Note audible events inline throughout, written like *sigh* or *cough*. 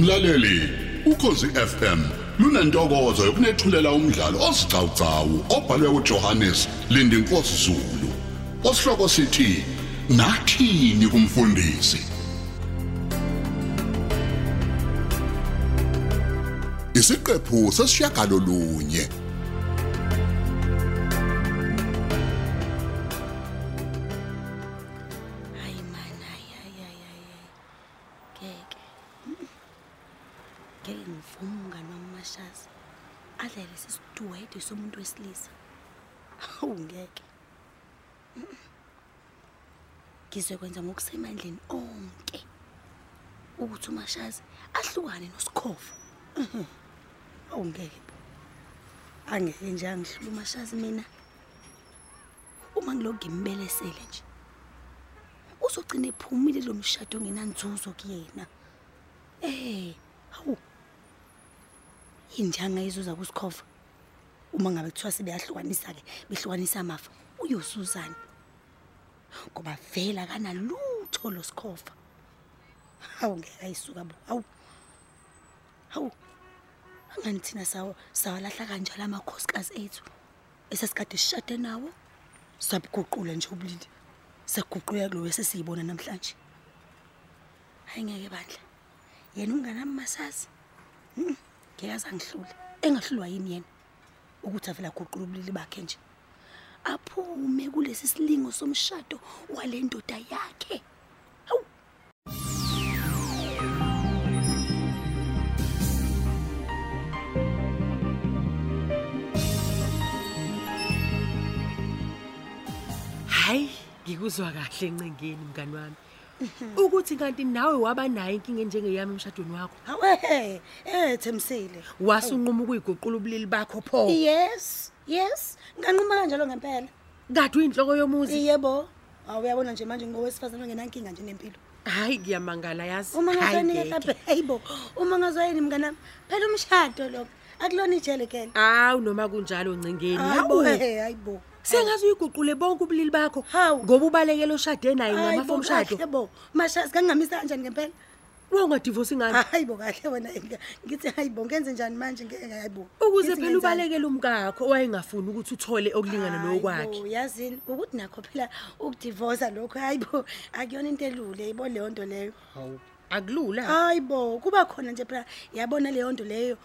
Mlaleli, ukhosi FM lunantokozo yokunethulela umdlalo osiqhawqhawo obhalwe uJohannes Lindinkosi Zulu. Osihloko sithi nathini kumfundisi. Isiqephu sesishiyagalo lunye. Hayi man, hayi hayi hayi hayi. Ngeke. Ngeke ngivume umngani wami mashazi. Adle lesi sidwede somuntu wesilisa. Hawu ngeke. Mm-mm. Ngizokwenza ngokusemandleni onke. Ukuthi umashazi ahlukane nosikhofo. Mhm. Hawu ngeke. bo. Angeke nje angihlule umashazi mina. Uma ngilokhu ngimbelesele nje. uzogcina ephumile lo mshado ngenanzuzo kuyena eh hawu injanga izuza kusikhova uma ngabe kuthiwa sebeyahlukanisa ke behlukanisa amafa uyosuzana ngoba vela kanalutho lo sikhova hawu ngeke ayisuka bo hawu hawu angani thina sawa sawalahla kanjalo amakhosikazi ethu esesikade sishade nawo sabuguqula nje ubulili saguquka kulo esesiyibona namhlanje hayi ngeke bandla yena unganami masazi Mhm, ngeke azangihlule engahlulwa yini yena ukuthi avela guqula ubulili bakhe nje aphume kulesi silingo somshado walendoda yakhe hawu hayi ngikuzwa kahle encengeni mngani wami ukuthi kanti nawe waba nayo inkinga njengeyami emshadweni wakho hawe eh Themsile wasunquma ukuyiguqula ubulili bakho pho yes yes nganquma kanjalo ngempela kade uyinhloko yomuzi yebo awuyabona nje manje ngowesifazana ngenankinga nje nempilo hayi ngiyamangala yazi uma Hayi ngazoyini ngeke. mhlawumbe hayibo uma ngazoyini mnganami phela umshado lokho akulona ijele kele awu noma kunjalo ncengeni hayibo hawu eh hayibo sengaze uyiguqule bonke ubulili bakho Hawu. ngoba ubalekele oshade naye ngamafo Hayibo, kahle omshado bo mashazi kangingamisa kanjani ngempela wawungadivosi ngani hayibo kahle wena ngithi hayibo ngenze njani manje ngeke hayibo ukuze Ngithi phela ngenzani? ubalekele umkakho owayengafuni ukuthi uthole okulingana nokwakhe Hayibo, yazini ukuthi nakho phela ukudivosa lokho hayibo akuyona into elule yibo leyo nto leyo akulula hayibo kuba khona nje phela yabona leyo nto leyo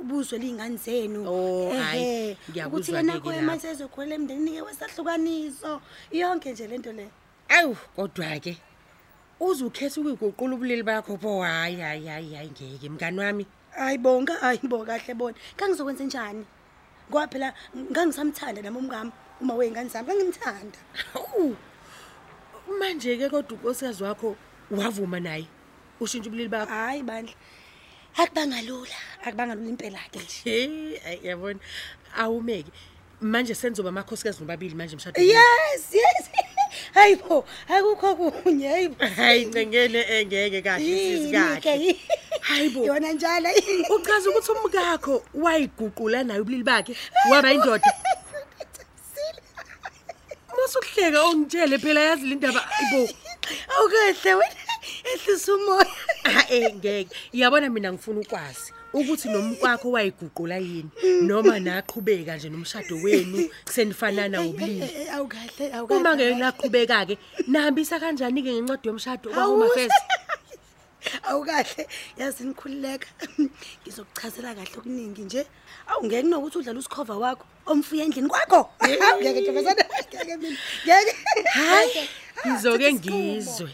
ubuzwe ley'ngane zenu Oh, hhayi, Ehhe, ngiyakuzwa ukuthi yena ke khoyo lapho. manje ezokholela emndenini-ke wesahlukaniso yonke nje le nto leyo awu kodwa-ke uze ukhetha ukuyiguqula ubulili bakho pho hhayi hayi hayi hayi ngeke mngani wami hayi bonke hayi bo kahle bona kangizokwenze njani ngoba phela ngangisamthanda nami umkami uma wey'ngane zami kangimthanda Hawu. manje-ke kodwa unkosikazi wakho wavuma naye ushintshe ubulili bakho hhayi bandla akubangalula akubangalula impela-ke nje he ayi, yabona awumeke manje senizoba amakhosikazi nobabili manje mshado yes yes *laughs* hayi bo akukho kunye hayi bo. hayi ncengene engeke kahle sisi kahle Yini-ke? hayi bo yona njalo uchaza ukuthi umkakho wayiguqula naye ubulili bakhe waba indoda masukuhleka ongitshele phela yazi le ndaba ayi bo awukahle wena ehlisa umoya Ah-eh, eh, ngeke yabona mina ngifuna ukwazi ukuthi nomkwakho wayiguqula yini noma naqhubeka nje nomshado wenu senifanana ubulili Eh, eh, awukahle uma ngeke naqhubeka-ke nahambisa kanjani-ke ngencwadi yomshado kwahome Awusho. affairs awukahle yazi nikhululeka ngizokuchazela kahle okuningi nje awungeke kunokuthi udlale usikhova wakho omfuye endlini kwakho ngeke ntombazana ngeke mina ngeke hayi Ah, ngizoke thatha isinqumo. ngizwe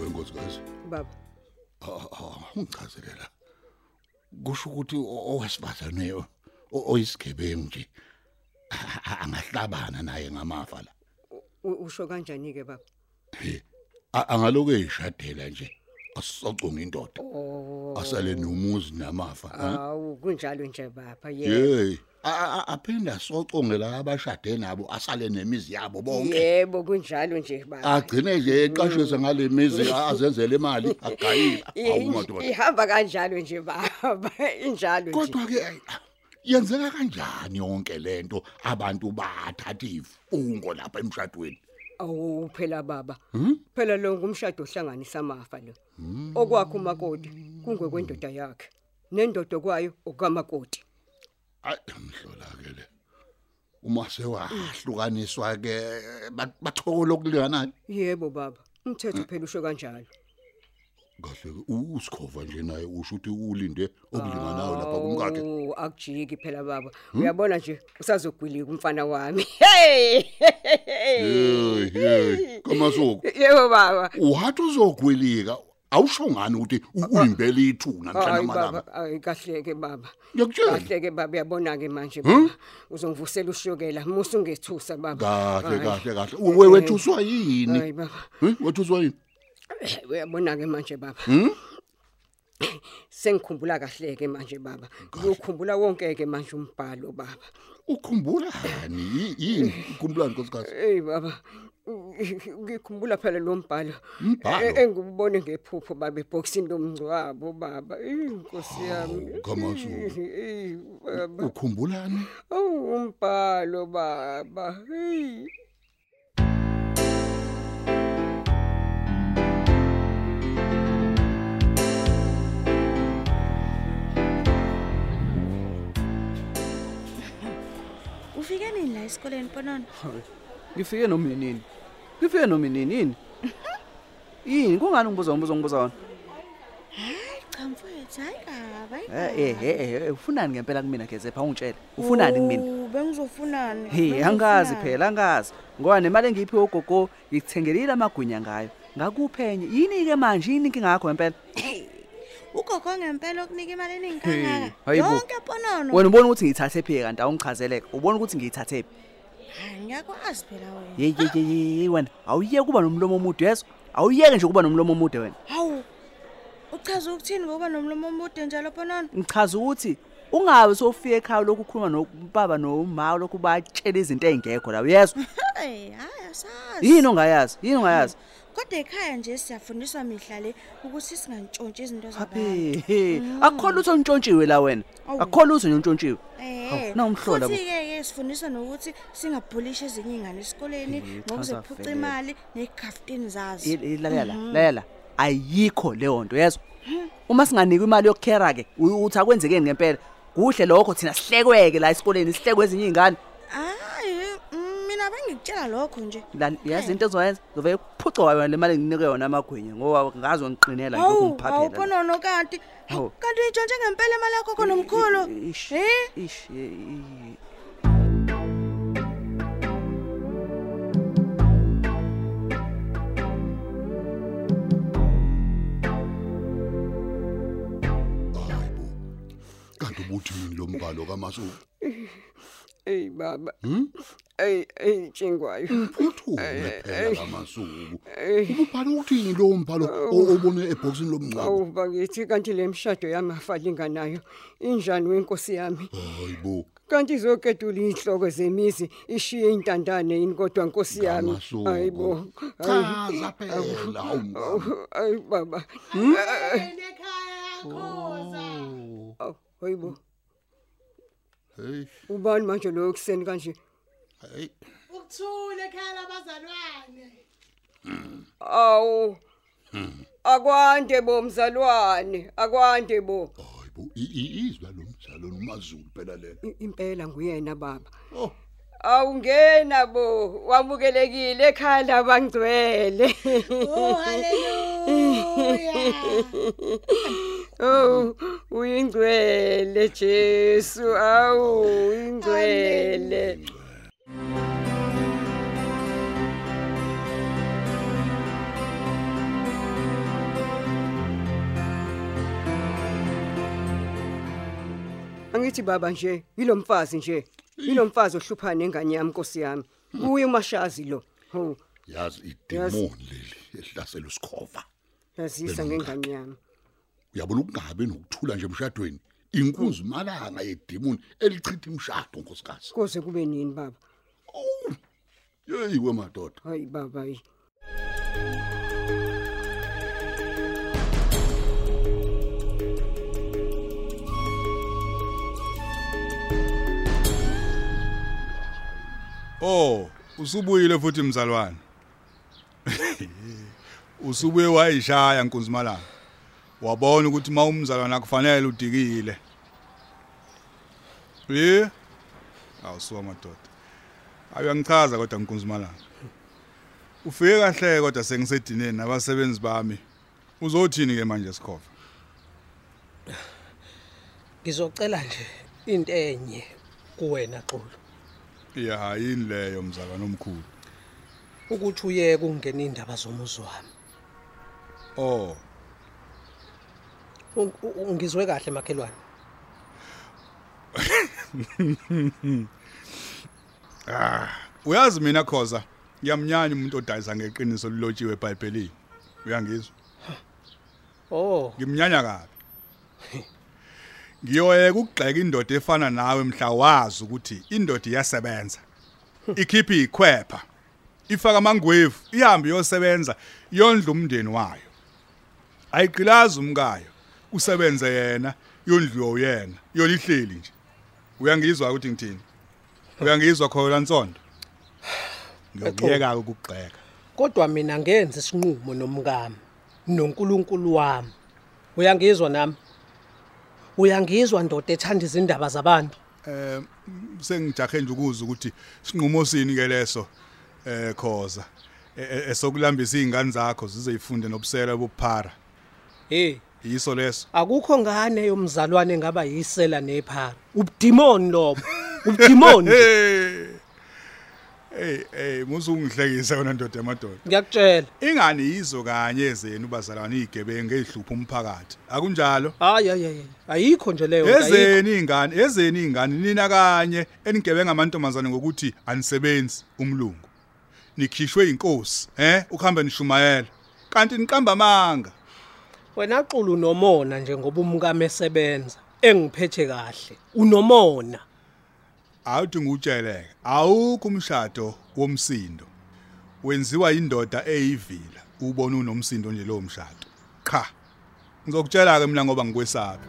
Wenkosikazi, baba Ah, ungichazele la. Kusho ukuthi o- owesifazane lo, o- oyisigebengu nje a- a- angahlabana naye ngamafa la. U- usho kanjani-ke baba He. A- Angaloke eshadela nje asocunga indoda. Asale nomuzi namafa. ha? Ah, hawu kunjalo nje baba ye Hey, a- a- aphinda soconge la abashade nabo asale nemizi yabo bonke. yebo kunjalo nje baba Agcine nje eqashisa ngale mizi azenzele imali agayila I- awumadoda. *laughs* ihamba kanjalo nje baba injalo nje Kodwa ke ah, yenzeka kanjani yonke lento abantu bathatha ifungo lapha emshadweni Awu phela baba. Phela lo ngumshado ohlanganisa amafa lo. Okwakho umakoti kungekwendoda yakhe. Nendoda kwayo okamakoti. ayi mhlola ke le uma sewahlukaniswa ke ba- bathokola okulinganani Yebo baba. Umthetho phela usho kanjalo. kahle ke usikhova nje naye usho ukuthi ulinde okulinganayo lapha kumkakhe Awu, Oh, akujiki phela baba. Uyabona nje usazogwilika umfana wami. *laughs* hey Hey! hey kamasuku Yebo baba. uhathi uzogwilika awusho ngani ukuthi u- uyimpela ithuna mhlawumbe Hayi baba, amalanga hayi kahle ke baba. ngiyakutshela Kahle ke baba uyabona ke manje Hmm? baba. Uzongivusela ushukela, musu ngethusa baba. kahle Hhayi. kahle kahle we wethuswa yini Hayi baba. Huh? wethuswa yini uyabona ke manje baba Hmm? sengikhumbula kahle ke manje baba ukukhumbula wonke ke manje umbhalo baba ukhumbulani Yi- yini ukhumbulani nkosikazi hey baba ngikhumbula phela lo mbhalo Umbhalo? e- engubone ngephupho baba eboxini lomngcwabo baba Eh, inkosi yami kamasuku Eh, baba ukhumbulani awu umbhalo baba hey ufike nini la esikoleni bonono ngifike noma yini ngifike noma yini yini yini kungani ngibuza umbuzo ngibuza wona cha mfowethu hayi kaba eh eh ufunani ngempela kumina geze pha ungitshele ufunani Oh, kumina bengizofunani he angazi phela angazi ngoba nemali engiyiphiwe ugogo ngikuthengelile amagwinya ngayo ngakuphenye yini ke manje yini inkinga yakho ngempela ugogo ngempela okunika imali eningi Hey, kangaka hayi bo. yonke bonono wena ubona ukuthi ngiyithathe phi kanti awungichazeleke ubona ukuthi ngiyithathe phi hayi ngiyakwazi phela wena ye ye ye ye, ye wena awuyeke kuba nomlomo omude yezo awuyeke nje kuba nomlomo omude wena hawu uchaza ukuthini ngokuba nomlomo omude njalo bonono ngichaza ukuthi ungabe sofika ekhaya lokhu ukhuluma nobaba nomama lokhu batshela izinto ezingekho la uyezwa hey hayi asazi yini ongayazi yini ongayazi kodwa ekhaya nje siyafundiswa mihla le ukuthi singantshontshi izinto zabantu hape he akukhona lutho ntshontshiwe la wena Awu. akukhona lutho nje ntshontshiwe Eh, nawumhlola bo futhi-ke ke sifundiswa nokuthi singabhulishe ezinye iy'ngane esikoleni chaza ngokuzephuca vele. imali negafutini zazo lalala Mhm. lalala ayikho leyo nto yezwa uma singanikwa imali yokukhera ke u- uthi akwenzekeni ngempela kuhle lokho thina sihlekweke la esikoleni sihlekwe ezinye iy'ngane hayi mm, mina bengikutshela lokho nje Lal- Eh. yazi into ezoyenza zovele kuphuca wayo le mali enginike yona amagwinya ngoba ngazo ngiqinela lokhu ngiphaphela la. awubonono kanti hawu, Hawu. kanti uyitshontshe ngempela imali yakho khonomkhulu Ish, Eh? ish, ye- ye- hayibo kanti ubuthini lo mbhalo kamasuku hey baba hey hey tshingwayo Hmm, uphuthume phela kamasuku ububhalo uthini lo mbhalo o- obone ebhokisini lomncwabo Awu bakithi kanti le mshado yamafa linganayo injani wenkosi yami hayibo kanti izoketula inhloko zemizi ishiye intandane yini kodwa nkosi yami kamasuku hayibo chaza phela hawu ayi baba Awu, hayibo hey ubani manje lo ekseni kanje hey ukuthula ekhaya labazalwane awu akwande bo mzalwane akwande bo hayibo i- i- izwa lo mdlalo nomazulu phela lelo I- impela nguyena baba oh awungena bo wamukelekile ekhaya labangcwele oh haleluya *laughs* Oh, uyingcwele Jesu, awu ingcwele. Angithi baba nje, yilomfazi nje. Yilomfazi ohlupha nengane yami Nkosi yami. Uye umashazi lo. Ho, yazi idemoni leli elihlasela usikhova yazisa ngengane yami. uyabona ukungabi nokuthula nje emshadweni inkunzi malanga yedimoni elichitha imshado nkosikazi Oh, Kuze kube nini baba? yeyi kwemadoda Hayi baba. hayi. Oh, usubuyile futhi mzalwane. *laughs* Usubuye wayishaya nkunzimalanga. Wabona ukuthi mawumzalwane akufanele udikile. Eh? Awusuwa madoda. Ayangichaza kodwa nkunzimalanga. Ufike kahle kodwa sengisedineni nabasebenzi bami. Uzothini ke manje sikhova? Ngizocela nje into enye kuwena Xolo Ya yini leyo mzalwane omkhulu. ukuthi uyeke ungena indaba zomuzi wami. Oh, Ung- u- Ungizwe kahle makhelwane. uyazi mina khoza ngiyamnyanya umuntu odayisa ngeqiniso lilotshiwe eBhayibhelini. Uyangizwa? Oh, Ngimnyanya kabi. *laughs* Ngiyoyeka ukugxeka indoda efana nawe mhla wazi ukuthi indoda iyasebenza. Ikhiphi ikhwepha. Ifaka amangwevu, ihambe iyosebenza, yondla umndeni wayo. Ayiqilazi umkayo, usebenze yena, yondliwe uyena, yolihleli nje. Uyangizwa ukuthi ngithini? Uyangizwa khola Nsondo? Ngiyokuyeka ukugxeka. kodwa mina ngenze isinqumo nomkami noNkulunkulu wami. Uyangizwa nami? Uyangizwa ndoda ethanda izindaba zabantu? eh sengijahe nje ukuza ukuthi sinqumo sini ke leso eh khoza E- e- esokulambisa izingane zakho zizeyifunde nobusela bobuphara Hey, yiso leso akukho ngane yomzalwane engaba yisela nephara. Ubudimoni lobo. Ubudimoni. *laughs* nje. hey hey hey musungihlekiso wena ndoda yamadoda Ngiyakutshela. ingani yizo kanye ezenu bazalwana igebengu ezihlupha umphakathi akunjalo Hayi hayi hayi. Ayikho nje leyo nto, ayikho. ezeni izingane ezeni izingane nina kanye enigebenga amantombazane ngokuthi anisebenzi umlungu nikhishwe inkosi eh ukuhamba nishumayela kanti niqamba amanga Wena xulu nomona nje ngoba umkami esebenza engiphethe kahle. Unomona. awuthi ngutsheleke awukho umshado womsindo wenziwa indoda eyivila ubona unomsindo nje lowo mshado cha ngizokutshela ke mina ngoba ngikwesaba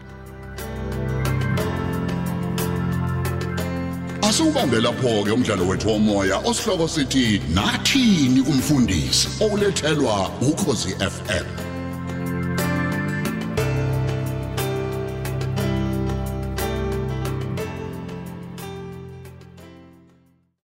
Asubambe lapho ke umdlalo wethu womoya osihloko sithi nathini kumfundisi olethelwa ukhosi FM